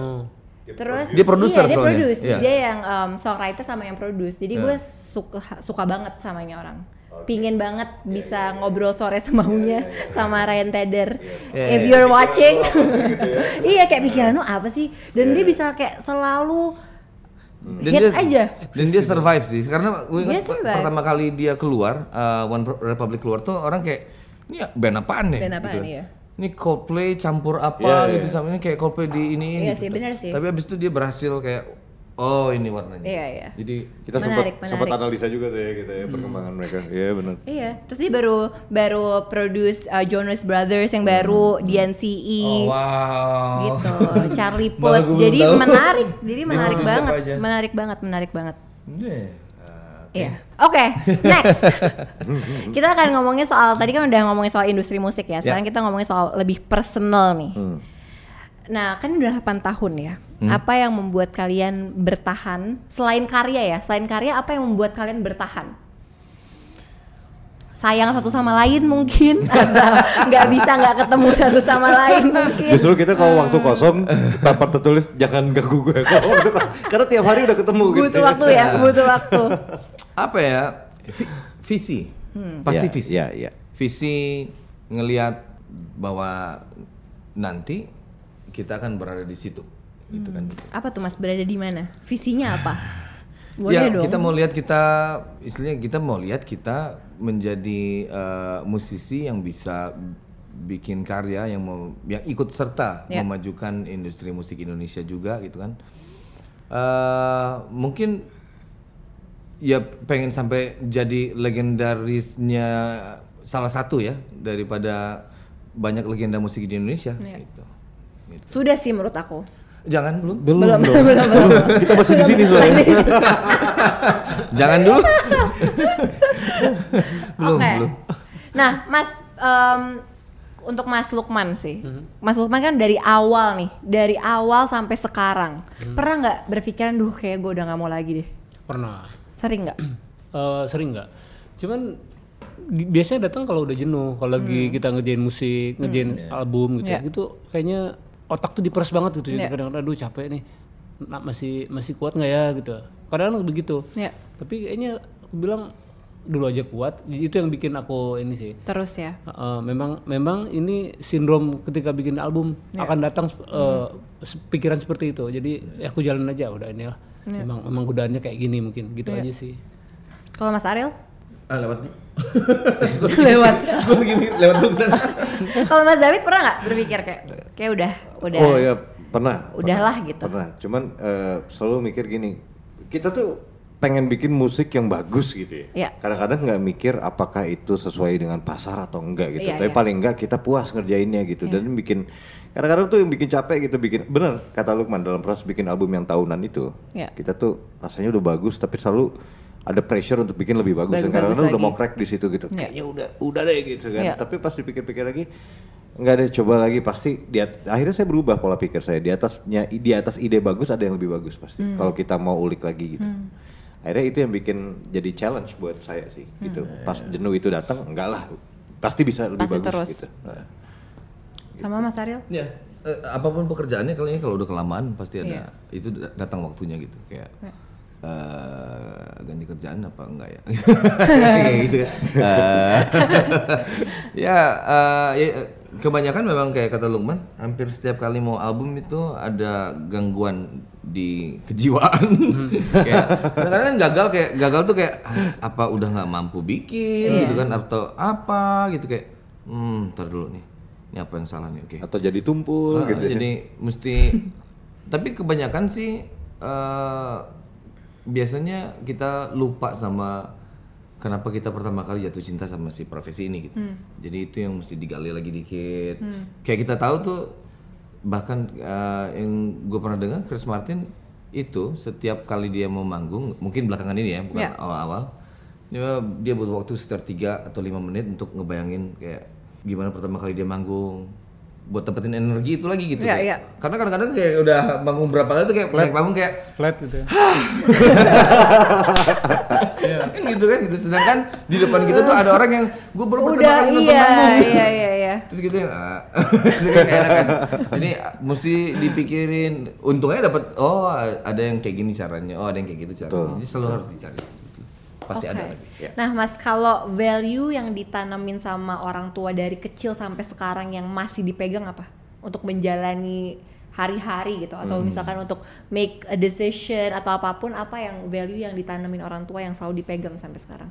Terus
Dia produser
iya, dia
soalnya.
produce.
Iya.
Dia yang um, songwriter sama yang produce. Jadi gue suka suka banget sama ini orang. Pingin banget
Iya,
bisa ngobrol sore semaunya sama Ryan Tedder.
Iya,
If
iya. Iya,
you're watching. *laughs* iya kayak pikiran lu apa sih? Dan dia bisa kayak selalu
Dan
hit aja.
Dan dia survive sih, karena gue
Dia
ingat per-
survive.
pertama kali dia keluar, eh, One Republic keluar tuh orang kayak, ini ya band apaan ya?
Band apaan, iya.
Ini Coldplay campur apa
Iya,
gitu sama ini kayak Coldplay di ini gitu.
Iya sih, bener sih.
Tapi abis itu dia berhasil kayak, oh ini warnanya.
Iya, iya.
Jadi
Kita
Menarik, Hmm.
sempat sempat
menarik.
analisa juga tuh ya kita ya perkembangan mereka. Iya benar.
Iya, terus dia baru baru produce uh, Jonas Brothers yang baru, DNCE
Hmm. Oh, wow. *laughs*
gitu, Charlie
Malah
Puth.
gua belum
Jadi
tahu.
menarik, jadi
Dia
menarik
produce
banget,
apa aja?
menarik banget, menarik banget.
Yeah.
Iya. Oke, next. kita akan ngomongin soal tadi kan udah ngomongin soal industri musik ya. Sekarang kita ngomongin soal lebih personal nih. Nah, kan udah 8 tahun ya. Apa yang membuat kalian bertahan selain karya ya? Selain karya apa yang membuat kalian bertahan? Sayang satu sama lain mungkin *laughs* atau nggak bisa nggak ketemu satu sama lain mungkin.
Justru kita kalau waktu kosong tanpa tertulis jangan ganggu gue. Kalau waktu ko- *laughs* Karena tiap hari udah ketemu gitu.
butuh waktu ya, butuh waktu.
Apa ya? Vi- Visi.
Hmm.
Pasti
Iya,
visi.
Iya, iya.
Visi ngelihat bahwa nanti kita akan berada di situ. Gitu kan.
Apa tuh Mas berada di mana? Visinya apa?
ya,
Boleh dong.
kita mau lihat kita istilahnya kita mau lihat kita menjadi eh, musisi yang bisa bikin karya yang mau yang ikut serta
Ya.
memajukan industri musik Indonesia juga gitu kan. Eh, mungkin ya pengen sampai jadi legendarisnya salah satu ya daripada banyak legenda musik di Indonesia
Ya.
gitu.
Sudah sih menurut aku.
Jangan belum.
Belum, belum, belum, Kita masih di sini soalnya.
Jangan
*laughs*
dulu.
Belum, Nah, Mas em, untuk Mas Lukman sih. Mas Lukman kan dari awal nih, dari awal sampai sekarang. Pernah nggak berpikiran duh kayak gue udah nggak mau lagi deh.
Pernah.
Sering nggak?
Eh, sering nggak? Cuman di- biasanya datang kalau udah jenuh, kalau lagi kita ngerjain musik, ngerjain album gitu,
Iya.
itu kayaknya otak tuh diperes banget gitu. Jadi
Iya.
kadang-kadang aduh capek nih, Nah, masih masih kuat nggak ya gitu. Kadang-kadang begitu.
Iya.
Tapi kayaknya aku bilang dulu aja kuat. Jadi Itu yang bikin aku ini sih.
Terus ya.
Uh, memang memang ini sindrom ketika bikin album akan datang uh, se- pikiran seperti itu. Jadi ya aku jalan aja udah ini lah. Memang memang godaannya kayak gini mungkin gitu aja sih.
Kalau Mas Ariel?
Ah, lewat nih. *laughs*
Lewat.
gue lagi mikir, lewat tuh kesana.
Kalau Mas David pernah nggak berpikir kayak kayak udah, udah.
Oh ya pernah.
Udahlah
pernah,
gitu.
Pernah. Cuman eh, selalu mikir gini, kita tuh pengen bikin musik yang bagus gitu
Iya.
ya. Kadang-kadang nggak mikir apakah itu sesuai dengan pasar atau enggak gitu.
Iya,
Tapi
iya.
paling enggak kita puas ngerjainnya gitu dan bikin kadang-kadang tuh yang bikin capek gitu bikin bener kata Lukman dalam proses bikin album yang tahunan itu
Iya.
kita tuh rasanya udah bagus tapi selalu ada pressure untuk bikin lebih bagus.
Bagus-
Dan kadang-kadang
bagus
udah mau
lagi.
crack di situ gitu.
Iya.
Kayaknya udah udah deh gitu kan.
Iya.
Tapi pas dipikir-pikir lagi nggak ada coba lagi pasti di at- akhirnya saya berubah pola pikir saya di atasnya di atas ide bagus ada yang lebih bagus pasti
Hmm.
kalau kita mau ulik lagi gitu akhirnya itu yang bikin jadi challenge buat saya sih gitu pas jenuh itu datang enggak lah pasti bisa lebih
Hmm. Pasti
bagus
terus.
gitu Nah.
Sama Mas Ariel?
Ya, eh, apapun pekerjaannya kalau kalau udah kelamaan pasti ada itu da- datang waktunya gitu kayak eh, ganti kerjaan apa enggak ya *laughs* kayak gitu kan. Eh, ya, eh, ya, eh, kebanyakan memang kayak kata Lukman, hampir setiap kali mau album itu ada gangguan di kejiwaan. *laughs* kayak kadang-kadang kan gagal kayak gagal tuh kayak "Ah, apa udah nggak mampu bikin gitu kan atau apa gitu kayak hmm ntar dulu nih. Ini apa yang salah nih? Oke.
atau jadi tumpul
Nah,
gitu ya.
Jadi mesti
*laughs*
tapi kebanyakan sih eh, biasanya kita lupa sama kenapa kita pertama kali jatuh cinta sama si profesi ini gitu.
Hmm.
Jadi itu yang mesti digali lagi dikit. Kayak kita tahu tuh bahkan eh, yang gue pernah dengar Chris Martin itu setiap kali dia mau manggung, mungkin belakangan ini ya, bukan awal-awal. Dia, dia butuh waktu sekitar 3 atau 5 menit untuk ngebayangin kayak gimana pertama kali dia manggung buat dapetin energi itu lagi gitu
Iya,
kayak.
iya.
Karena kadang-kadang kayak udah manggung berapa kali tuh kayak naik panggung kayak
flat gitu ya.
*laughs* kan gitu kan gitu sedangkan di depan kita tuh ada orang yang gue baru pertama
Udah
kali nonton
iya,
manggung."
iya, iya, iya.
Terus gitu ah. *laughs* Itu kan enak kan. Jadi ah, mesti dipikirin untungnya dapat oh ada yang kayak gini caranya, oh ada yang kayak gitu caranya. Jadi selalu harus dicari. Pasti ada
Oke.
lagi. ya.
Nah, Mas, kalau value yang ditanamin sama orang tua dari kecil sampai sekarang yang masih dipegang apa? Untuk menjalani hari-hari gitu
Hmm.
atau misalkan untuk make a decision atau apapun apa yang value yang ditanamin orang tua yang selalu dipegang sampai sekarang.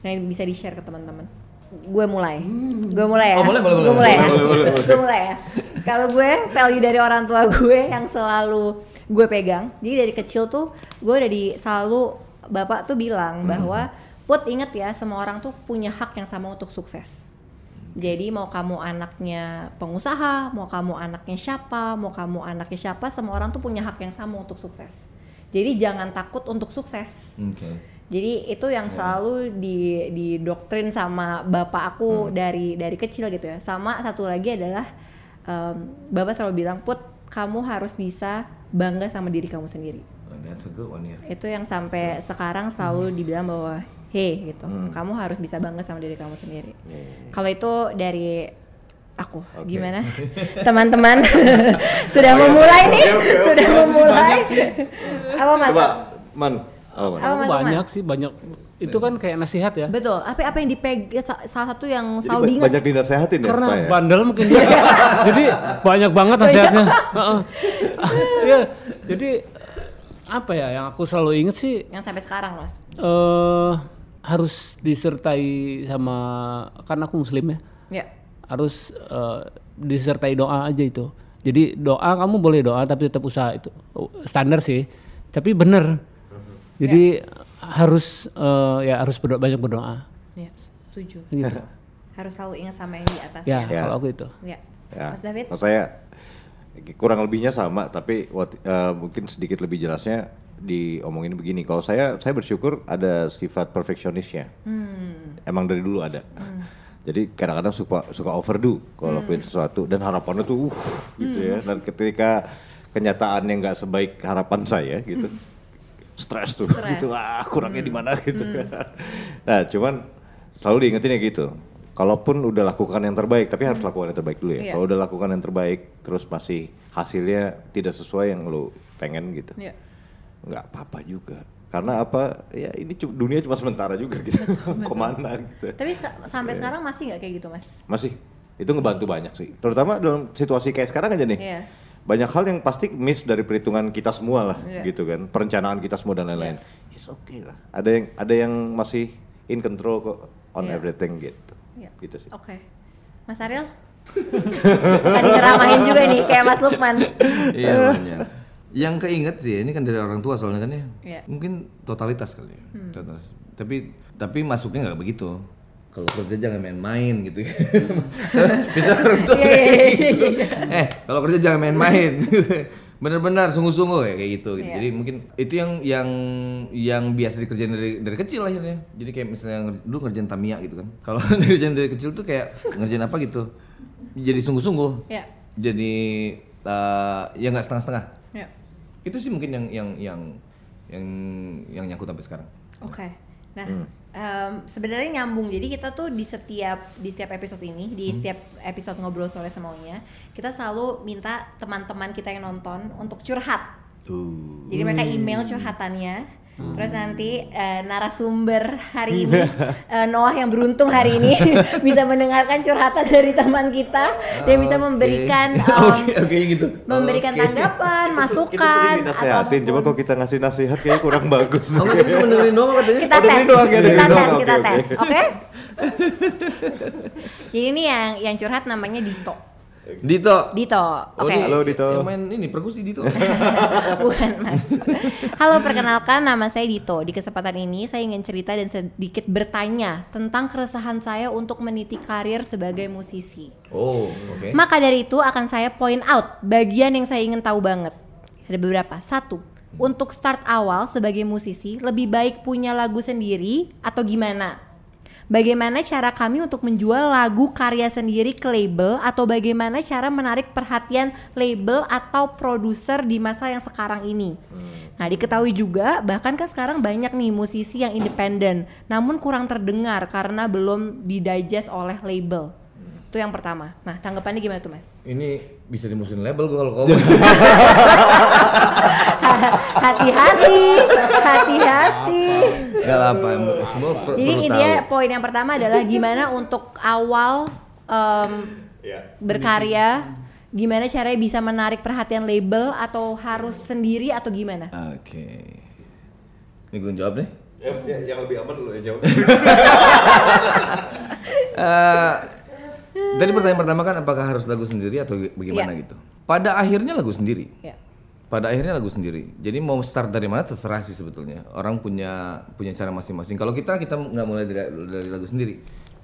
Nah, ini bisa di-share ke teman-teman. Gue mulai. Gue mulai ya.
Oh, boleh, boleh,
Gue
boleh.
mulai ya.
Boleh, boleh, boleh.
Gue mulai ya. Kalau gue value dari orang tua gue yang selalu gue pegang. Jadi dari kecil tuh gue udah di selalu bapak tuh bilang
Hmm.
bahwa put inget ya semua orang tuh punya hak yang sama untuk sukses. Jadi mau kamu anaknya pengusaha, mau kamu anaknya siapa, mau kamu anaknya siapa, semua orang tuh punya hak yang sama untuk sukses. Jadi jangan takut untuk sukses.
Oke.
Jadi itu yang selalu di didoktrin sama bapak aku dari dari kecil gitu ya. Sama satu lagi adalah em, bapak selalu bilang put kamu harus bisa bangga sama diri kamu sendiri.
Oh, that's a good one ya.
Itu yang sampai sekarang selalu dibilang bahwa hey gitu, kamu harus bisa bangga sama diri kamu sendiri. Kalau itu dari aku gimana teman-teman *laughs* sudah memulai nih sudah memulai apa mas
Coba, Man. Oh, Man.
apa mas Ahmad?
banyak sih banyak itu kan kayak nasihat ya
Betul. Apa apa yang dipeg sa- salah satu yang
Jadi
selalu
ba-
diingat.
banyak dinasehatin ya, Pak
karena
ya?
bandel mungkin dia *laughs* jadi banyak banget nasihatnya Heeh. *laughs* Iya, jadi apa ya yang aku selalu inget sih
Yang sampai sekarang, Mas.
eh harus disertai sama karena aku muslim ya
Ya.
harus eh, disertai doa aja itu. Jadi doa kamu boleh doa tapi tetap usaha itu Oh, standar sih. Tapi bener. Jadi harus eh, ya harus berdoa, banyak berdoa.
Ya, setuju.
Gitu.
Harus selalu ingat sama yang di atas.
ya,
Ya.
kalau aku itu.
Ya.
Ya.
Mas David?
Kalau saya kurang lebihnya sama, tapi wat- eh, mungkin sedikit lebih jelasnya diomongin begini. Kalau saya, saya bersyukur ada sifat perfeksionisnya.
Hmm.
Emang dari dulu ada. Jadi kadang-kadang suka suka overdo
Hmm.
kalau lakuin sesuatu dan harapannya tuh uh, gitu ya. Dan ketika kenyataannya nggak sebaik harapan saya gitu, stres tuh
Hmm. Stres.
gitu ah kurangnya
Hmm.
di mana gitu kan. *laughs* Nah cuman selalu diingetin ya gitu. Kalaupun udah lakukan yang terbaik, tapi harus lakukan yang terbaik dulu ya.
Iya.
Kalau udah lakukan yang terbaik, terus masih hasilnya tidak sesuai yang lo pengen gitu,
Ya.
Iya.
nggak apa-apa juga. Karena apa? Ya ini cu- dunia cuma sementara juga gitu. *laughs* Kemana gitu?
Tapi seka- sampai sekarang masih nggak kayak gitu, Mas?
Masih itu ngebantu banyak sih. Terutama dalam situasi kayak sekarang aja nih.
Iya.
Banyak hal yang pasti miss dari perhitungan kita semua lah gitu kan. Perencanaan kita semua dan lain-lain. It's okay lah. Ada yang ada yang masih in control kok on
Iya.
everything gitu.
Iya.
Gitu sih.
Oke. Mas Ariel? *laughs* Suka diceramahin juga nih kayak Mas
*laughs*
Lukman.
Iya banyak. Yang keinget sih ini kan dari orang tua soalnya kan ya.
Iya.
Mungkin totalitas kali ya. Totalitas. Tapi tapi masuknya nggak begitu. Kalau kerja jangan main-main gitu. Bisa orang tua
Iya,
kayak gitu. *laughs* Eh, kalau kerja jangan main-main. *laughs* Bener-bener sungguh-sungguh ya kayak gitu.
Iya.
gitu. Jadi mungkin itu yang yang yang biasa dikerjain dari dari kecil akhirnya. Jadi kayak misalnya nger- dulu ngerjain Tamiya gitu kan. Kalau *laughs* ngerjain dari kecil tuh kayak ngerjain apa gitu. Jadi sungguh-sungguh
Iya.
jadi eh, ya nggak setengah-setengah
Iya.
*laughs*
itu sih mungkin yang yang yang yang yang nyangkut sampai sekarang
Oke. Nah,
Hmm.
em, sebenarnya nyambung. Jadi kita tuh di setiap di setiap episode ini,
Hmm.
di setiap episode ngobrol sore semuanya, kita selalu
Hmm.
minta teman-teman kita yang nonton untuk curhat. Jadi mereka email curhatannya Terus nanti eh, narasumber hari ini
Hmm.
*laughs* eh, Noah yang beruntung hari
*laughs*
ini bisa mendengarkan curhatan dari teman kita. Dia bisa
Ah, Oke.
memberikan em,
*laughs* Oke, oke gitu.
memberikan
Oke. *laughs*
tanggapan,
Kita sering
masukan
dinasehatin,
ataupun-
cuma kalau kita ngasih nasihat kayaknya kurang bagus. Iya.
Oh, enggak, cuma dengerin doang katanya.
kita
Oh,
tes,
dengerin doang ya,
kita
dengerin
tes,
doang.
kita
Oke,
tes,
oke. *laughs*
oke? Jadi ini yang yang curhat namanya Dito,
Dito.
Dito,
Oh,
oke?
ini
Halo, Dito.
Yang main ini perkusi Dito.
*laughs* Bukan mas. Halo perkenalkan nama saya Dito. Di kesempatan ini saya ingin cerita dan sedikit bertanya tentang keresahan saya untuk meniti karir sebagai musisi.
*laughs* oh, oke.
Maka dari itu akan saya point out bagian yang saya ingin tahu banget. Ada beberapa. Satu, untuk start awal sebagai musisi lebih baik punya lagu sendiri atau gimana? Bagaimana cara kami untuk menjual lagu karya sendiri ke label atau bagaimana cara menarik perhatian label atau produser di masa yang sekarang ini? Nah, diketahui juga bahkan kan sekarang banyak nih musisi yang independen namun kurang terdengar karena belum didigest oleh label. Itu yang pertama. Nah, tanggapannya gimana tuh, Mas? *laughs*
Ini bisa dimusuhin label gue kalau
*laughs*
ngomong.
Hati-hati, hati-hati.
Enggak apa, semua per-
Jadi
perlu
intinya
tahu.
poin yang pertama adalah gimana untuk awal em, berkarya, gimana caranya bisa menarik perhatian label atau harus sendiri atau gimana?
Oke. Ini gue jawab deh.
Eh, ya, yang lebih aman lu yang jawab.
*laughs* Eh, tadi pertanyaan pertama kan apakah harus lagu sendiri atau bagaimana
Iya.
gitu. Pada akhirnya lagu sendiri.
Ya.
Pada akhirnya lagu sendiri. Jadi mau start dari mana terserah sih sebetulnya. Orang punya punya cara masing-masing. Kalau kita kita nggak mulai dari, dari lagu sendiri.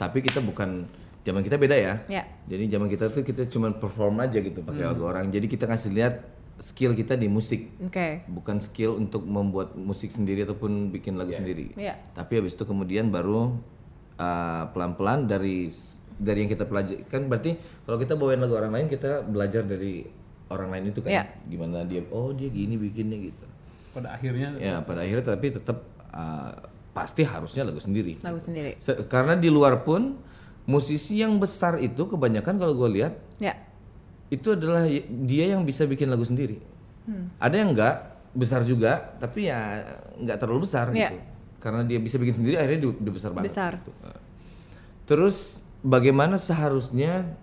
Tapi kita bukan zaman kita beda ya.
Ya.
Jadi zaman kita tuh kita cuman perform aja gitu pakai lagu orang. Jadi kita ngasih lihat skill kita di musik.
Oke.
bukan skill untuk membuat musik sendiri ataupun bikin lagu sendiri.
Iya.
Tapi habis itu kemudian baru uh, pelan-pelan dari s- dari yang kita pelajari kan berarti kalau kita bawain lagu orang lain kita belajar dari orang lain itu kan
Iya.
gimana dia oh dia gini bikinnya gitu.
Pada akhirnya
Ya pada akhirnya tapi tetap uh, pasti harusnya lagu sendiri.
Lagu sendiri.
Se- Karena di luar pun musisi yang besar itu kebanyakan kalau gue lihat
Ya.
itu adalah y- dia yang bisa bikin lagu sendiri.
Hmm.
Ada yang enggak besar juga, tapi ya nggak terlalu besar
Iya.
gitu. Karena dia bisa bikin sendiri, akhirnya dia, dia besar banget.
Besar.
gitu. Terus bagaimana seharusnya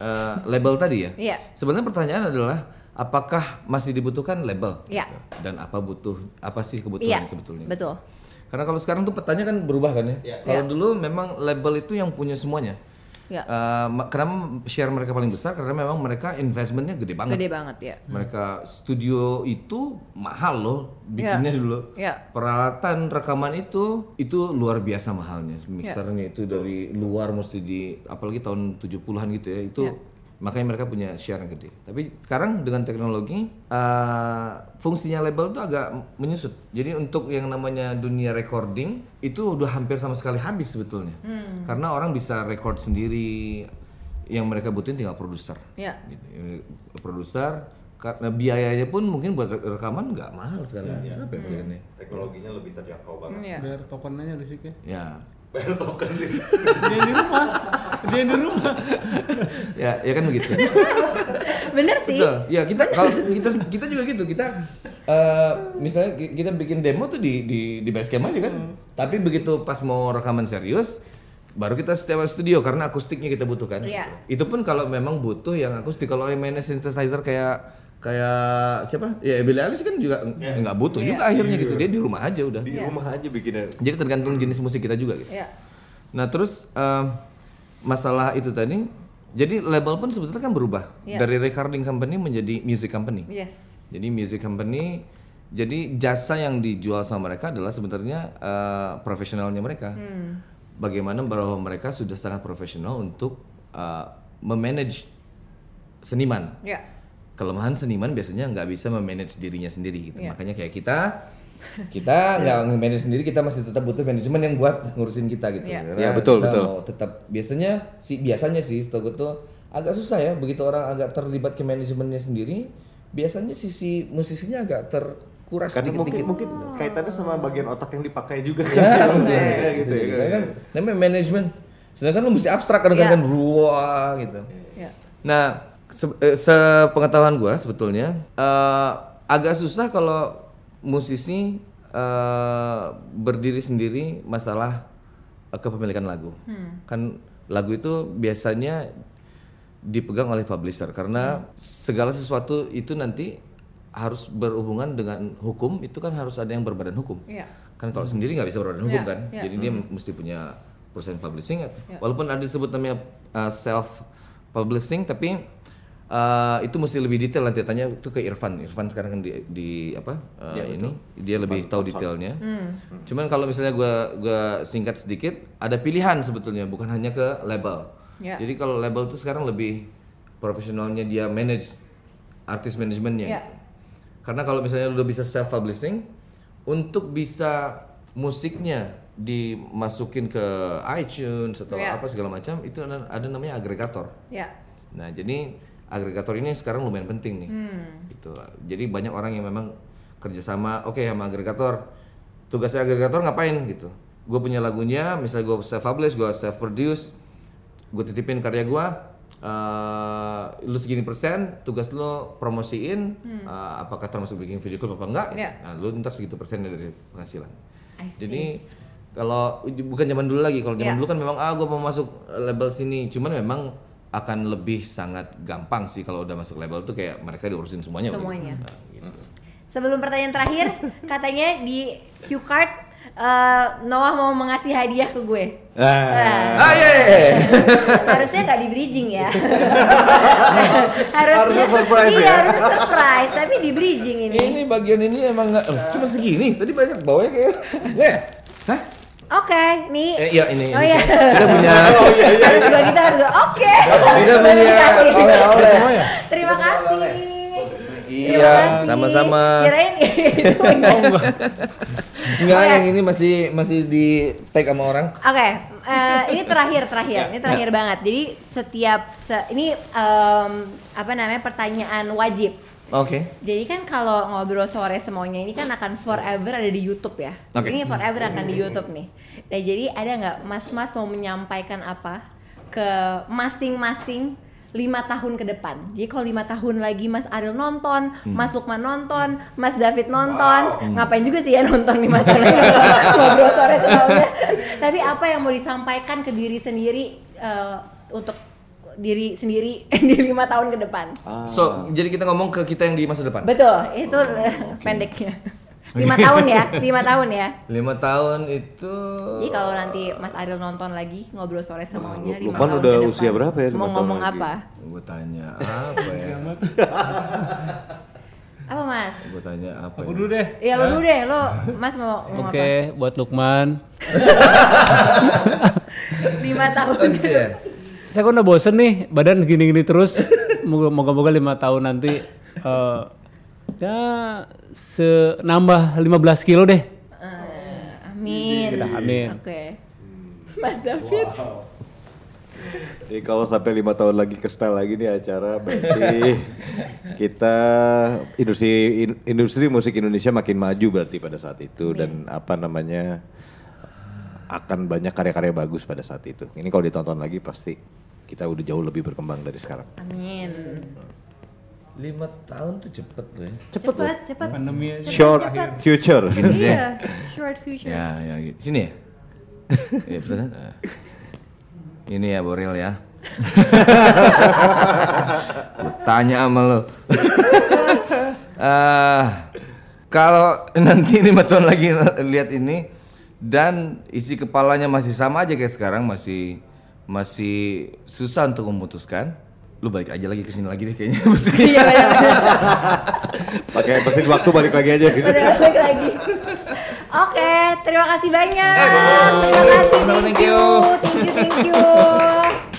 eh, label tadi ya?
Iya.
Sebenarnya pertanyaan adalah apakah masih dibutuhkan label?
Iya.
gitu? Dan apa butuh apa sih
Iya.
kebutuhan sebetulnya?
Betul.
Karena kalau sekarang tuh petanya kan berubah kan ya. Kalau dulu memang label itu yang punya semuanya.
Ya.
Eh, ma- kenapa share mereka paling besar? Karena memang mereka investmentnya gede banget.
Gede banget ya.
Mereka studio itu mahal loh bikinnya dulu.
Ya.
Peralatan rekaman itu itu luar biasa mahalnya. Mixernya itu dari luar mesti di apalagi tahun 70-an gitu ya. Itu makanya mereka punya share yang gede. Tapi sekarang dengan teknologi eh, fungsinya label tuh agak menyusut. Jadi untuk yang namanya dunia recording itu udah hampir sama sekali habis sebetulnya. Karena orang bisa record sendiri yang mereka butuhin tinggal produser
Ya.
gitu. Ini produser karena biayanya pun mungkin buat re- rekaman nggak mahal sekarang ya, berapa ya bayarannya?
Teknologinya lebih terjangkau banget.
Ya.
Biar tokennya listriknya.
ya
Bayar token
Dia yang di rumah. Dia yang di rumah.
ya ya kan begitu
Bener sih.
Betul. ya kita kalau kita kita juga gitu kita eh, misalnya ki- kita bikin demo tuh di di di basecamp aja kan
Hmm.
tapi begitu pas mau rekaman serius baru kita sewa studio karena akustiknya kita butuhkan
Iya.
itu pun kalau memang butuh yang akustik kalau yang mainnya synthesizer kayak kayak siapa ya Billie Eilish kan juga nggak butuh
Iya.
juga akhirnya gitu dia di rumah aja udah
Di rumah aja bikinnya.
Jadi tergantung jenis musik kita juga gitu.
Ya.
Nah terus eh, masalah itu tadi, jadi label pun sebetulnya kan berubah dari recording company menjadi music company.
Yes.
Jadi music company, jadi jasa yang dijual sama mereka adalah sebenarnya eh, profesionalnya mereka. Bagaimana bahwa mereka sudah sangat profesional untuk eh, memanage seniman
Ya.
kelemahan seniman biasanya nggak bisa memanage dirinya sendiri gitu. Makanya kayak kita kita nggak manage sendiri kita masih tetap butuh manajemen yang buat ngurusin kita gitu.
Iya.
Karena
Iya, betul,
kita
betul.
Mau tetap biasanya si biasanya sih setahu gue tuh agak susah ya begitu orang agak terlibat ke manajemennya sendiri biasanya sisi musisinya agak terkuras
Karena mungkin
dikit-dikit.
mungkin kaitannya sama bagian otak yang dipakai juga kan.
Ya, mungkin.
*laughs* Iya,
Bisa
gitu
jadi.
ya.
Karena kan namanya manajemen. Sedangkan lu mesti abstrak kadang-kadang kan wah gitu.
Ya.
Iya.
Nah, se- eh, sepengetahuan gua sebetulnya eh, agak susah kalau musisi eh, berdiri sendiri masalah eh, kepemilikan lagu. Kan lagu itu biasanya dipegang oleh publisher karena segala sesuatu itu nanti harus berhubungan dengan hukum itu kan harus ada yang berbadan hukum.
Iya.
Ya.
Kan kalau sendiri nggak bisa berbadan hukum
Iya,
kan.
iya.
Jadi dia mesti punya perusahaan publishing atau- walaupun ada disebut namanya self publishing tapi uh, itu mesti lebih detail nanti tanya itu ke Irfan. Irfan sekarang kan di, di apa? uh, ini dia lebih tahu detailnya. Cuman kalau misalnya gua gua singkat sedikit ada pilihan sebetulnya bukan hanya ke label.
Iya.
Jadi kalau label itu sekarang lebih profesionalnya dia manage artis manajemennya.
Iya.
gitu. Karena kalau misalnya lu udah bisa self publishing, untuk bisa musiknya dimasukin ke iTunes atau
Iya.
apa segala macam itu ada, ada namanya agregator.
Ya.
Nah, jadi agregator ini sekarang lumayan penting nih. Gitu. Jadi banyak orang yang memang kerjasama, oke sama agregator. Tugasnya agregator ngapain gitu? Gue punya lagunya, misalnya gue self publish, gue self produce, gue titipin karya gue. eh, lu segini persen, tugas lu promosiin, eh, apakah termasuk bikin video klip apa enggak?
Iya.
Nah, lu ntar segitu persennya dari penghasilan. Jadi kalau bukan zaman dulu lagi, kalau zaman
Iya.
dulu kan memang ah gue mau masuk label sini, cuman memang akan lebih sangat gampang sih kalau udah masuk label tuh kayak mereka diurusin semuanya. udah.
Semuanya.
Nah, gitu.
Sebelum pertanyaan
*laughs*
terakhir, katanya di cue card eh, Noah mau mengasih hadiah ke gue. Nah,
*laughs*
Ah.
Ah iya, iya, iya.
harusnya nggak di bridging ya.
*laughs*
harusnya,
Harusnya surprise
iya,
ya.
harusnya surprise, tapi di bridging ini.
Ini bagian ini emang nggak, oh, cuma segini. Tadi banyak bawahnya kayak, ya, hah?
Oke, nih.
Eh, iya ini.
Oh
ini.
iya.
Kita punya,
Oh, iya,
harus gua kita harus gua. Oke.
Iya, kita
Baru
punya
dikasih.
oleh-oleh.
Semua ya?
Terima kasih. Terima
Iya,
kasih.
sama-sama.
Kirain gitu. itu.
Enggak,
Oke.
yang ini masih masih di tag sama orang.
Oke, eh, ini terakhir terakhir, ini terakhir banget. Jadi setiap se- ini em, apa namanya pertanyaan wajib.
Oke.
Jadi kan kalau ngobrol sore semuanya ini kan akan forever ada di YouTube ya.
Oke.
Ini forever akan di YouTube nih. Nah jadi ada nggak mas-mas mau menyampaikan apa ke masing-masing lima tahun ke depan. Jadi kalau lima tahun lagi Mas Ariel nonton, Mas Lukman nonton, Mas David nonton, ngapain juga sih ya nonton lima tahun lagi *laughs* ngobrol sore semalamnya. Tapi apa yang mau disampaikan ke diri sendiri eh, untuk diri sendiri *laughs* di lima tahun ke depan?
So, jadi kita ngomong ke kita yang di masa depan.
Betul, itu *laughs* pendeknya. Oh, *laughs* Lima tahun *laughs* ya, lima tahun ya.
Lima tahun itu
Jadi kalau nanti Mas Adil nonton lagi ngobrol sore semuanya
Wah,
lima
Lukman
tahun
udah
ke depan,
usia berapa ya lima
Mau
tahun
ngomong
lagi?
apa?
Iya.
gue tanya apa ya
Apa
*laughs*
Mas?
gue tanya apa
Aku
ya?
dulu deh.
Ya lo dulu deh, lo Mas mau ngomong
Oke, buat Lukman.
apa? *laughs* Lima tahun.
*laughs*
Gitu ya?
Saya kok udah bosen nih, badan gini-gini terus. Moga- Moga-moga lima tahun nanti eh, ya senambah 15 kilo deh.
Eh, amin.
Kita amin.
Oke. Mas David,
Jadi kalau sampai lima tahun lagi ke style lagi nih acara berarti kita industri in- industri musik Indonesia makin maju berarti pada saat itu dan apa namanya akan banyak karya-karya bagus pada saat itu. Ini kalau ditonton lagi pasti kita udah jauh lebih berkembang dari sekarang.
amin.
lima tahun tuh cepet loh ya
Cepet, cepet.
Pandemi aja.
Short future. *laughs*
Iya, short future.
ya ya gitu. sini ya Iya, betul kan? Ah. ini ya Boril ya gue tanya sama lo Eh, kalau nanti lima tahun lagi lihat ini dan isi kepalanya masih sama aja kayak sekarang masih masih susah untuk memutuskan lu balik aja lagi ke sini lagi deh kayaknya *laughs* mesti
Iya, bener-bener.
Pakai mesin waktu balik lagi aja
*laughs*
gitu.
Udah balik lagi. Oke, terima kasih banyak. Terima kasih.
Teman-teman,
Thank
thank
you.
you.
Thank you, thank you.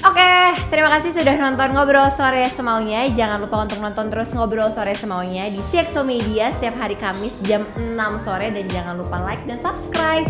Oke, terima kasih sudah nonton Ngobrol Sore Semaunya. Jangan lupa untuk nonton terus Ngobrol Sore Semaunya di CXO Media setiap hari Kamis jam 6 sore dan jangan lupa like dan subscribe.